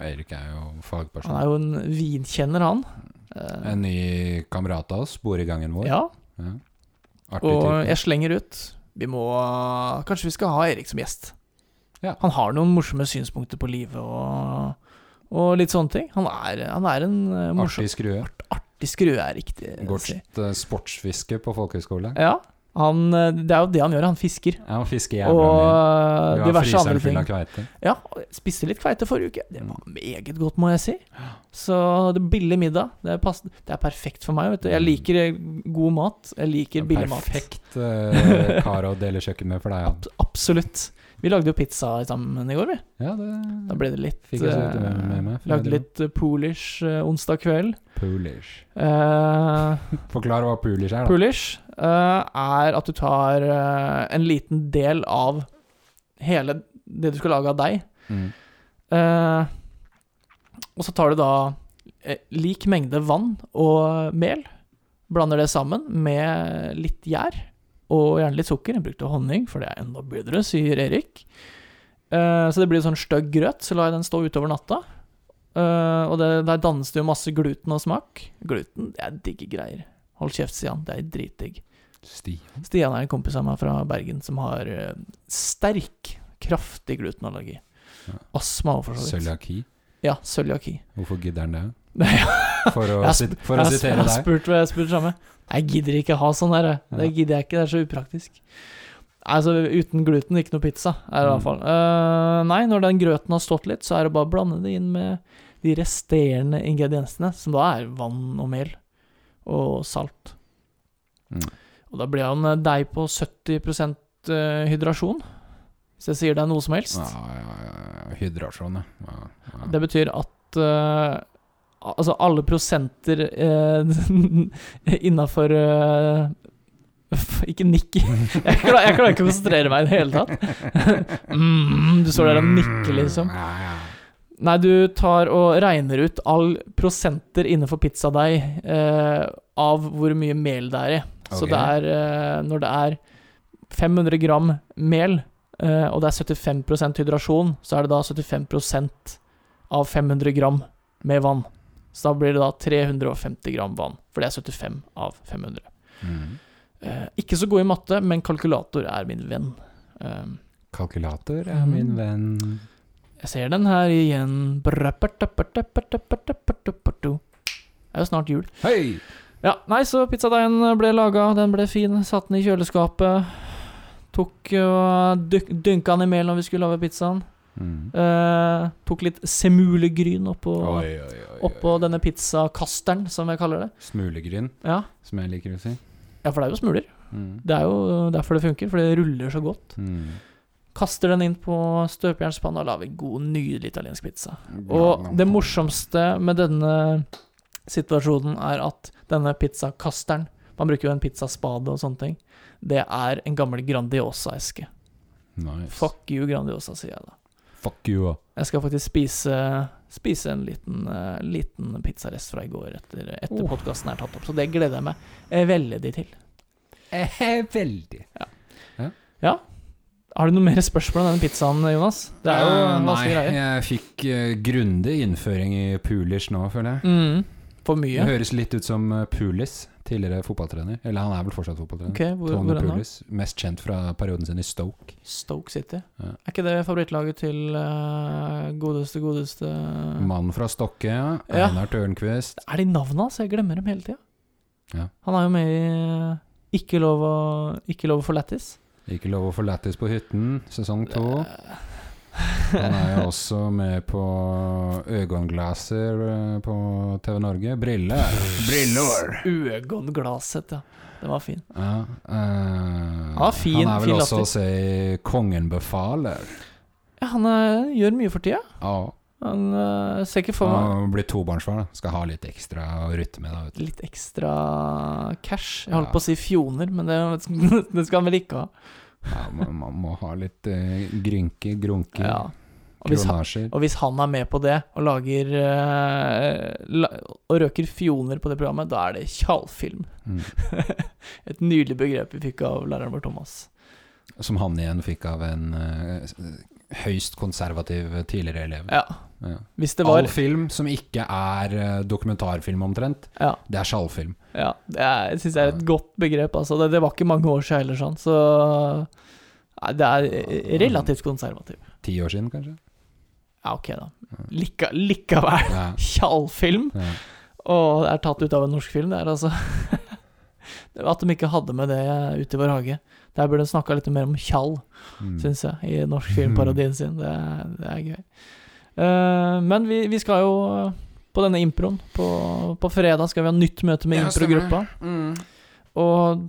Erik er jo
Han
fagperson.
er jo en vinkjenner, han. Eh,
En ny kamerat av oss bor i gangen vår.
Ja,
Ja. Artig
og
type.
jeg slenger ut Vi må Kanskje vi skal ha Erik som gjest.
Ja.
Han har noen morsomme synspunkter på livet og, og litt sånne ting. Han er, han er en eh, morsom
Artig skrue.
Artig skrue, er riktig. å
Går
si.
eh, sportsfiske på folkehøyskole.
Ja. Han, eh, det er jo det han gjør, han fisker.
Ja, han fisker jævla
Og
mye.
eh,
Vi har
diverse andre
fryseren
ting.
full av kveite.
Ja, og jeg spiste litt kveite forrige uke. Det var
Mm.
meget godt, må jeg si. Så det er billig middag. Det er, pass, det er perfekt for meg. Vet du. Jeg liker eh, god mat. Jeg liker billig mat.
Mm. Perfekt eh, kar å dele kjøkken med for deg, han.
Ab- Absolutt. Vi lagde jo pizza sammen i går, vi.
Ja,
Da
det
ble det litt
Fikk jeg så vidt
eh,
med- med meg, for jeg hadde-
Lagde litt eh, polish eh, onsdag kveld.
Poolish.
Eh,
Forklar hva poolish er, da.
Poolish eh, er at du tar eh, en liten del av hele det du skal lage av deig,
Mm.
eh, og så tar du da eh, lik mengde vann og mel, blander det sammen med litt gjær og gjerne litt sukker. Jeg brukte honning, for det er enda bedre, sier Erik. Eh, så det blir sånn stygg grøt, så lar jeg den stå utover natta. Eh, og det, der dannes det jo masse gluten og smak. Gluten, det er digge greier. Hold kjeft, sier han. Det er dritdigg.
Stian.
Stian er en kompis av meg fra Bergen som har eh, sterk, kraftig glutenallergi.
Ja.
Astma og for så vidt.
Cøliaki.
Ja, cøliaki.
Hvorfor gidder han det?
Nei,
For å,
Jeg har
sit- for å
jeg, jeg
sitere
har
deg.
spurt, jeg har spurt samme. Jeg gidder ikke ha sånn her. jeg. Det
Ja.
gidder jeg ikke, det er så upraktisk. Altså, uten gluten, ikke noe pizza, er det i
Mm.
hvert fall. Eh, nei, når den grøten har stått litt, så er det bare å blande det inn med de resterende ingrediensene, som da er vann og mel og salt.
Mm.
Og da blir han eh, deig på 70 eh, hydrasjon, hvis jeg sier det er noe som helst.
Ja, ja, ja. Hydrasjon, ja. ja, ja.
Det betyr at eh, al- eh, altså alle prosenter uh, innafor Ikke nikk. Jeg klarer, jeg klarer ikke å konsentrere meg i det hele tatt. Mm, du står der og nikker, liksom.
Ja, ja.
Nei, du tar og regner ut all prosenter innenfor pizzadeig eh, av hvor mye mel det er i. Så
Ok.
det er eh, Når det er 500 gram mel, eh, og det er 75 hydrasjon, så er det da 75 av 500 gram med vann. Så da blir det da 350 gram vann, for det er 75 av 500.
Mm.
Eh, ikke så god i matte, men kalkulator er min venn. Eh,
Kalkulator er min
Mm.
venn.
jeg ser den her igjen. Det er jo snart jul.
Hei!
Ja, nei, så pizzadeigen ble laga, den ble fin. Satt den i kjøleskapet. Tok og dyk- dynka den i mel når vi skulle lage pizzaen.
Mm.
Eh, tok litt semulegryn oppå,
Oi, oi, oi,
oppå denne pizzakasteren, som jeg kaller det.
Smulegryn,
Ja.
som jeg liker å si.
ja, for det er jo smuler.
Mm.
Det er jo derfor det funker, for det ruller så godt.
Mm.
Kaster den inn på støpejernspanna og lager god, nydelig italiensk pizza. Og det morsomste med denne situasjonen er at denne pizzakasteren Man bruker jo en pizzaspade og sånne ting. Det er en gammel Grandiosa-eske.
nice.
Fuck you, Grandiosa, sier jeg da.
Fuck you òg.
Jeg skal faktisk spise, spise en liten, eh, liten pizzarest fra i går etter, etter
Oh.
podkasten er tatt opp, så det gleder jeg meg eh, veldig til. Eh,
Veldig.
Har du noe mer spørsmål om denne pizzaen, Jonas? Det er jo
Eh,
en
nei,
vanskelig greie.
jeg fikk eh, grundig innføring i Pulish nå, føler jeg.
Mm, for mye.
Det høres litt ut som eh, Pulis, tidligere fotballtrener. Eller han er vel fortsatt fotballtrener.
Ok, hvor,
Tony
hvor er den da?
Pulis, mest kjent fra perioden sin i Stoke.
Stoke City.
Ja.
Er ikke det favorittlaget til eh, godeste, godeste
Mannen fra Stokke, ja.
Ja.
Einar Tørnquist.
Er det navnet hans? Jeg glemmer dem hele tida.
Ja.
Han er jo med i eh, Ikke lov å, ikke lov å få lættis.
Ikke lov å få lættis på hytten, sesong to.
Eh,
Han er jo også med på Øyeglaser på TV Norge. Brille. Briller!
Øgonglaset, ja. Den var fin.
Ja, eh,
Ja, fin-
han er vel
fin
også
latter.
å si Kongen befaler.
Ja, han eh, gjør mye for tida.
Ja,
Han eh, ser ikke for meg
han blir tobarnsfar. da. Skal ha litt ekstra rytme. Da, vet du.
Litt ekstra cash. Jeg holdt
Ja.
på å si fjoner, men det, det skal han vel ikke ha.
Ja, man, man må ha litt eh, grynke, grunke,
Ja. Og hvis han,
kronasjer.
Og hvis han er med på det, og lager eh, la, Og røker fioner på det programmet, da er det tjallfilm.
Mm.
Et nydelig begrep vi fikk av læreren vår Thomas.
Som han igjen fikk av en eh, høyst konservativ tidligere elev.
Ja,
Ja.
hvis det var
All film som ikke er eh, dokumentarfilm omtrent,
Ja,
det er skjallfilm.
ja det er- jeg syns det er et godt begrep, altså. Det, det var ikke mange år siden heller, sånn, så Nei, det er eh, relativt konservativ.
Ti år siden, kanskje?
Ja, ok, da. Lika, likevel.
Ja.
Tjallfilm.
Ja.
Og det er tatt ut av en norsk film, det er altså At de ikke hadde med det ute i vår hage. Der burde de snakka litt mer om tjall.
Mm.
syns jeg, i norsk filmparodien sin. Det, er- det er gøy. Eh, men vi, vi skal jo eh, på denne improen. På, på fredag skal vi ha nytt møte med
Ja,
improgruppa.
Mm.
Og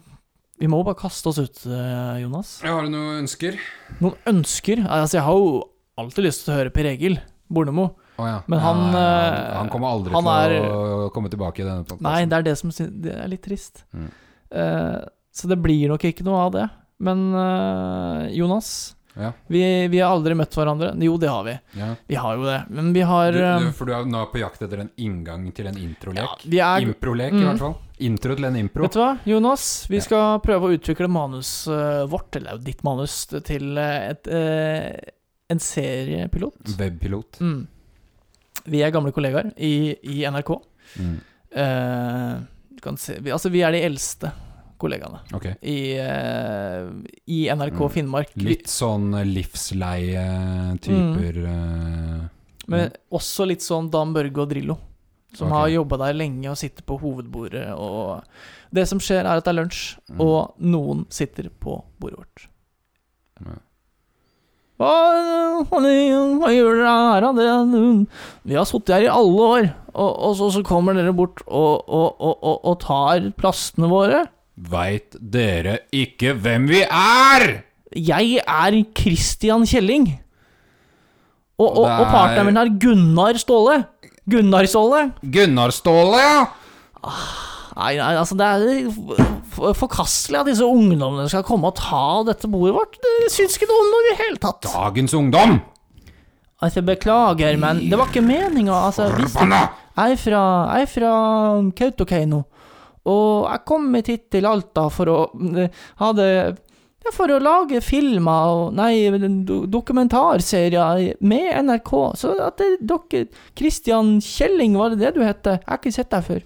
vi må jo bare kaste oss ut, eh, Jonas.
Har du noen ønsker?
Noen ønsker? Altså, jeg har jo alltid lyst til å høre Per Egil Bornemo.
Å ja.
Men han,
Nei, han,
eh,
han kommer aldri
han
til å komme tilbake i denne podcasten.
Nei, det er det som syn- det er litt trist.
Mm.
Eh, så det blir nok ikke noe av det. Men eh, Jonas,
Ja.
vi, vi har aldri møtt hverandre. Jo, det har vi.
Ja.
Vi har jo det. Men vi har
Du,
eh,
du, for du er nå på jakt etter en inngang til en
ja,
introlek?
vi er
Improlek, i
Mm.
hvert fall. Intro til en impro.
Vet du hva, Jonas? Vi
Ja.
skal prøve å utvikle manuset eh, vårt, eller det er jo ditt manus, til eh, et, eh, en seriepilot.
Webpilot.
Mm. Vi er gamle kollegaer i, i NRK.
Mm.
Eh, du kan se, vi, altså, vi er de eldste kollegaene
Ok.
i, eh, i NRK
Mm.
Finnmark. Vi-
Litt sånn livsleie-typer
Mm.
eh,
Men også litt sånn Dan Børge og Drillo, som
Ok.
har jobba der lenge og sitter på hovedbordet og Det som skjer, er at det er lunsj,
Mm.
og noen sitter på bordet vårt.
Ja.
Hva, hva, hva gjør dere her, da? Det- Vi har sittet her i alle år, og, og så, så kommer dere bort og, og, og, og, og tar plastene våre.
Veit dere ikke hvem vi er?!
Jeg er Christian Kjelling. Og, og,
Og det
og partneren
er-
min er Gunnar Ståle. Gunnar Ståle.
Gunnar Ståle, ja!
Nei, nei, altså det er f- forkastelig at disse ungdommene skal komme og ta dette bordet vårt. Det syns ikke noe om noe i det hele tatt.
Dagens ungdom!
Altså, beklager, men det var ikke meninga. Altså, hvis
Forbanna!
Jeg er fra, jeg er fra Kautokeino, og jeg kom hit til Alta for å eh, ha det ja, For å lage filmer og Nei, do- dokumentarserier med NRK. Så at det, dere Christian Kjelling, var det det du het? Jeg har ikke sett deg før.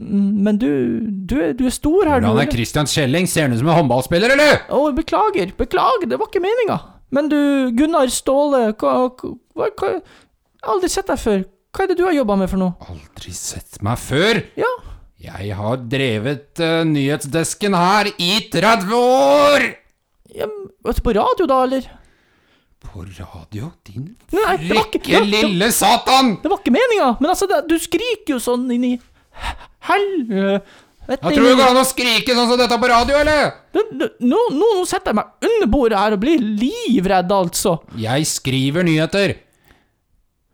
Mm, Men du, du, er- du er stor her, du.
Hvordan er
eller?
Christian Kjelling? Ser han ut som en håndballspiller, eller?
Å, beklager, beklager, det var ikke meninga. Men du, Gunnar Ståle, hva, hva, hva Jeg har aldri sett deg før. Hva er det du har jobba med for noe?
Aldri sett meg før!
Ja,
Jeg har drevet eh, nyhetsdesken her i 30 år!
Ja, vet du, på radio, da, eller?
På radio, din
Nei, det var ikke,
frikke
det,
lille satan!
det var ikke meninga! Men altså, det, du skriker jo sånn inn i helvete
Jeg tror det går an å skrike sånn som dette på radio, eller?
Nå, nå, nå setter jeg meg under bordet her og blir livredd, altså.
Jeg skriver nyheter.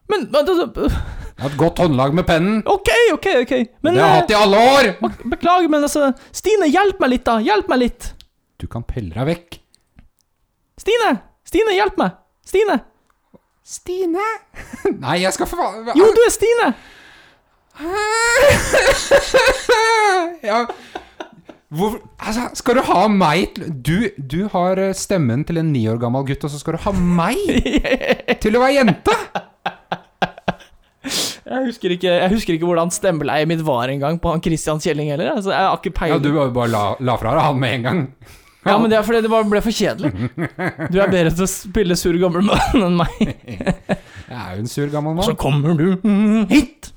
Men men, altså,
Jeg har et godt håndlag med pennen.
OK, OK, OK. Men
det har jeg
eh,
hatt i alle år!
ok, Beklager, men altså Stine, hjelp meg litt, da. Hjelp meg litt.
Du kan pelle deg vekk.
Stine! Stine, hjelp meg! Stine!
Stine? Nei, jeg skal for faen
Jo, du er Stine!
ja. Hvor, altså, skal du ha meg til du, du har eh, stemmen til en ni år gammel gutt, og så skal du ha meg til å være jente?
Jeg husker ikke, jeg husker ikke hvordan stemmeleiet mitt var engang på han Christian Kjelling heller. Altså, jeg har ikke
Ja,
peiling.
du bare bare la, la fra deg han med en gang.
Ja, men det er fordi det bare ble for kjedelig. Du er bedre til å spille sur gammel mann enn meg.
Jeg er jo en sur gammel
Så
mann.
kommer du hit!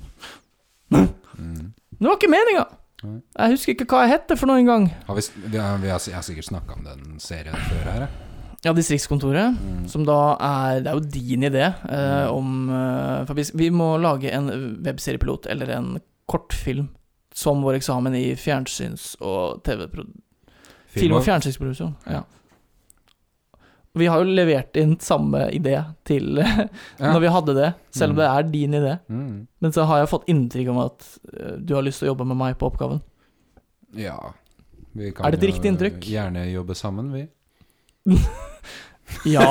Det var ikke meninga.
Mm. Nei.
Jeg husker ikke hva jeg het for noen gang.
Har vi, s- vi, har, vi har, s- jeg har sikkert snakka om den serien før her. jeg.
Ja, Distriktskontoret, som da er Det er jo din idé eh, om eh, for vi, vi må lage en webseriepilot eller en kortfilm som vår eksamen i fjernsyns- og TV-produksjon. Film og fjernsynsproduksjon. Ja.
Ja.
Vi har jo levert inn samme idé til eh, når vi hadde det, selv om det er din idé.
Mm.
Men så har jeg fått inntrykk om at eh, du har lyst til å jobbe med meg på oppgaven.
Ja. Vi
Er det et
jo
riktig inntrykk?
Gjerne jobbe sammen, vi.
Ja,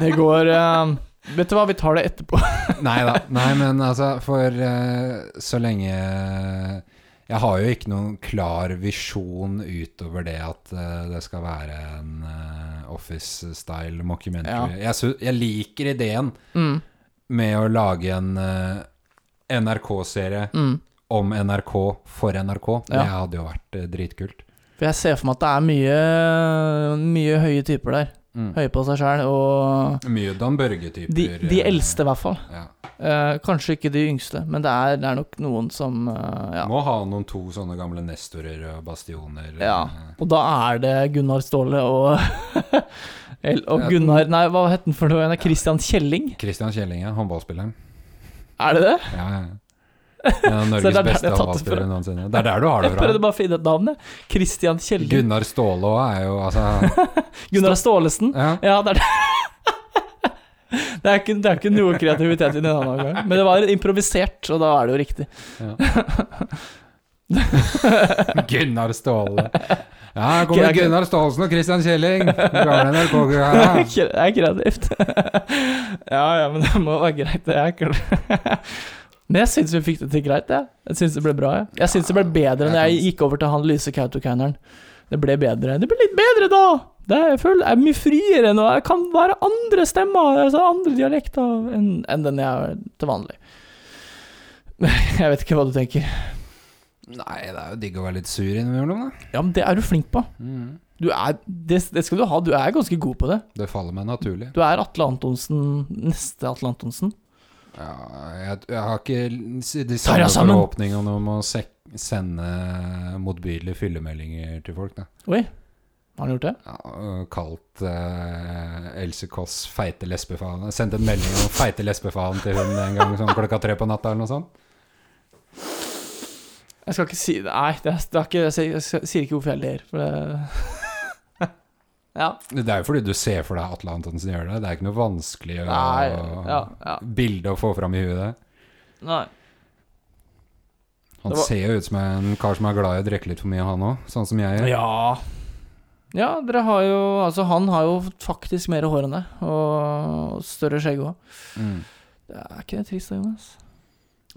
det går eh, Vet du hva, vi tar det etterpå.
Nei da. Nei, men altså, for eh, så lenge Jeg har jo ikke noen klar visjon utover det at eh, det skal være en eh, office-style mockumentary. Jeg, sy- jeg liker ideen
Mm,
med å lage en eh, NRK-serie
mm.
om NRK for NRK. Det
Ja.
hadde jo vært eh, dritkult.
For jeg ser for meg at det er mye, mye høye typer der. Høye på seg sjæl, og
Mye Dan Børge-typer.
Mm. de, de
eh,
eldste, i hvert fall.
Ja.
Eh, kanskje ikke de yngste, men det er, det er nok noen som eh, ja.
Må ha noen to sånne gamle nestorer og bastioner. eh,
Ja. Og da er det Gunnar Ståle og El- Og Gunnar Nei, hva het den for noe? Det er Christian Kjelling?
Christian Kjelling, ja, håndballspilleren.
Er det det?
Ja, ja. Det er
Så det er
Norges
der det er
beste
tatt
håndballspiller
fra.
noensinne. Det er der du har det
Jeg prøvde
fra.
bare å finne et navn, jeg. Christian Kjelling.
Gunnar Ståle òg er jo altså
Gunnar Stålesen.
ja.
Ja, det er det. Det er, ikke, det er ikke noe kreativitet i den andre omgang, men det var improvisert, og da er det jo riktig.
Gunnar Ståle. Ja, her kommer Gunnar Stålsen og Christian Kjelling. Gamle NRK-gutta.
Det er kreativt. Ah. Ja ja, men det må være greit, det. er ikke- Men jeg syns vi fikk det til greit, jeg. Jeg syns det ble bra. Jeg, jeg syns det ble bedre enn jeg gikk over til han lyse Kautokeinoeren. Det ble bedre. Det ble litt bedre da! Det er, jeg føler jeg er mye friere nå. Jeg kan være andre stemmer, altså andre dialekter, enn enn den jeg er til vanlig. Jeg vet ikke hva du tenker.
Nei, det er jo digg å være litt sur innimellom, da.
Ja, men det er du flink på.
Mm.
Du er, det, det skal du ha. Du er ganske god på det.
Det faller meg naturlig.
Du er Atle Antonsen, neste Atle Antonsen.
Ja, jeg, jeg har ikke de
Ta
samme
deg sammen.
forhåpningene om å sek sende motbydelige fyllemeldinger til folk, da.
Oi, har han gjort det?
ja, og kalt eh, Else Kåss feite lesbefaen. Jeg sendte en melding om feite lesbefaen til hun en gang sånn klokka tre på natta eller noe sånt.
Jeg skal ikke si Nei, det er, det er ikke, jeg, sier, jeg skal- sier ikke hvorfor jeg ler, for det Ja.
Det er jo fordi du ser for deg Atle Antonsen gjør det. Det er ikke noe vanskelig å,
Nei, ja, ja.
bilde å få fram i huet.
Nei.
Han
Det var-
ser jo ut som en kar som er glad i å drikke litt for mye, han òg. Sånn som jeg gjør.
Ja. Ja, dere har jo Altså, han har jo faktisk mer hår enn deg, og større skjegg òg.
Mm.
Er ikke det trist, da, Jonas?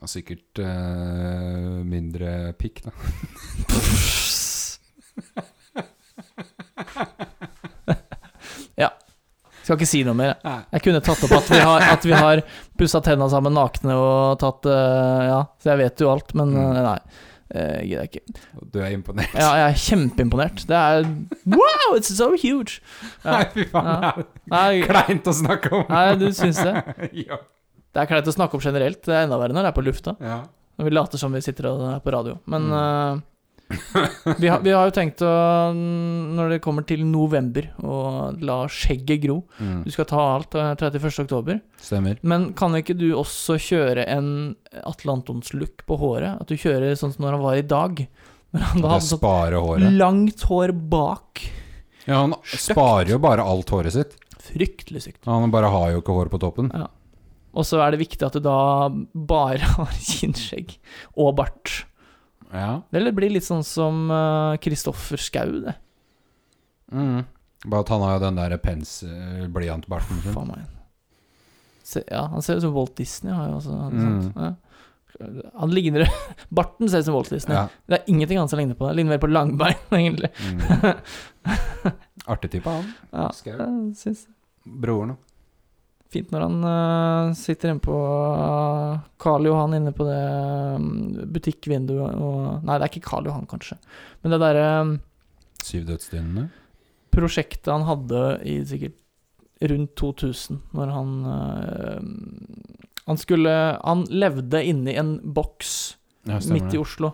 Og sikkert eh, mindre pikk, da.
ja. Skal ikke si noe mer. jeg.
Nei.
Jeg kunne tatt opp at vi har, at vi har pussa tenna sammen nakne og tatt eh, Ja, så jeg vet jo alt, men
Mm.
eh, nei. eh, gidder jeg ikke.
Og Du er imponert.
Ja, jeg er kjempeimponert. Det er Wow, it's so huge! Ja.
Nei, fy faen.
Ja.
det
Nei,
er Kleint å snakke om.
nei du syns det?
ja.
Det er kleint å snakke om generelt. Det er enda verre når det er på lufta.
Ja.
Når vi later som vi sitter og er på radio. Men eh, vi, har, vi har jo tenkt å, når det kommer til november, å la skjegget gro.
Mm.
Du skal ta alt eh, 31. oktober.
Stemmer.
Men kan ikke du også kjøre en Atle Antons-look på håret? At du kjører sånn som når han var i dag? Når han da
Det
hadde
sparer
sånn
håret.
langt hår bak.
Ja, han
Støkt.
sparer jo bare alt håret sitt.
Fryktelig sykt.
Han bare har jo ikke hår på toppen.
Og så er det viktig at du da bare har kinnskjegg og bart.
Ja.
Eller det blir litt sånn som Kristoffer Schou, det.
Mm. Bare at han har jo den der pens eh, blyantbarten sin.
Faen meg. Se, ja, han ser ut som Walt Disney. Har jo også,
Mm.
sant? Ja. Han ligner Barten ser ut som Walt Disney.
Ja.
Det er ingenting annet som ligner på det. Ligner mer på langbein, egentlig.
Mm. Artig type, han.
Ja,
Skau.
jeg synes det.
Broren òg.
Fint når han eh, sitter inne på eh, Karl Johan inne på det mm, butikkvinduet og Nei, det er ikke Karl Johan, kanskje. Men det derre mm,
Syv dødsdynene.
prosjektet han hadde i sikkert rundt 2000, når han eh, Han skulle Han levde inni en boks
Ja,
midt i Oslo.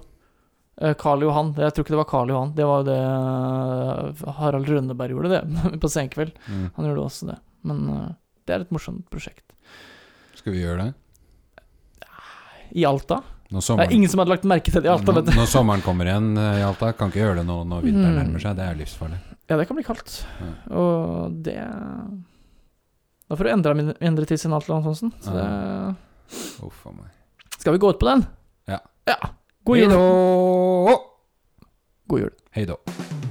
Eh, Karl Johan. Jeg tror ikke det var Karl Johan. Det var jo det eh, Harald Rønneberg gjorde, det, på Senkveld.
Mm.
Han gjorde også det. Men eh, det er et morsomt prosjekt.
Skal vi gjøre det?
I Alta?
Når
Det
sommeren,
er ingen som hadde lagt merke til det i Alta, vet du.
når, når sommeren kommer igjen eh, i Alta, kan ikke gjøre det nå når vinteren
Mm.
nærmer seg. Det er livsfarlig.
Ja, det kan bli kaldt. Og det Da får du endre, min- endre til sin Atle Antonsen. Så det
Uff a meg.
Skal vi gå ut på den?
Ja.
God jul.
Hei då!
God jul.
Hei då.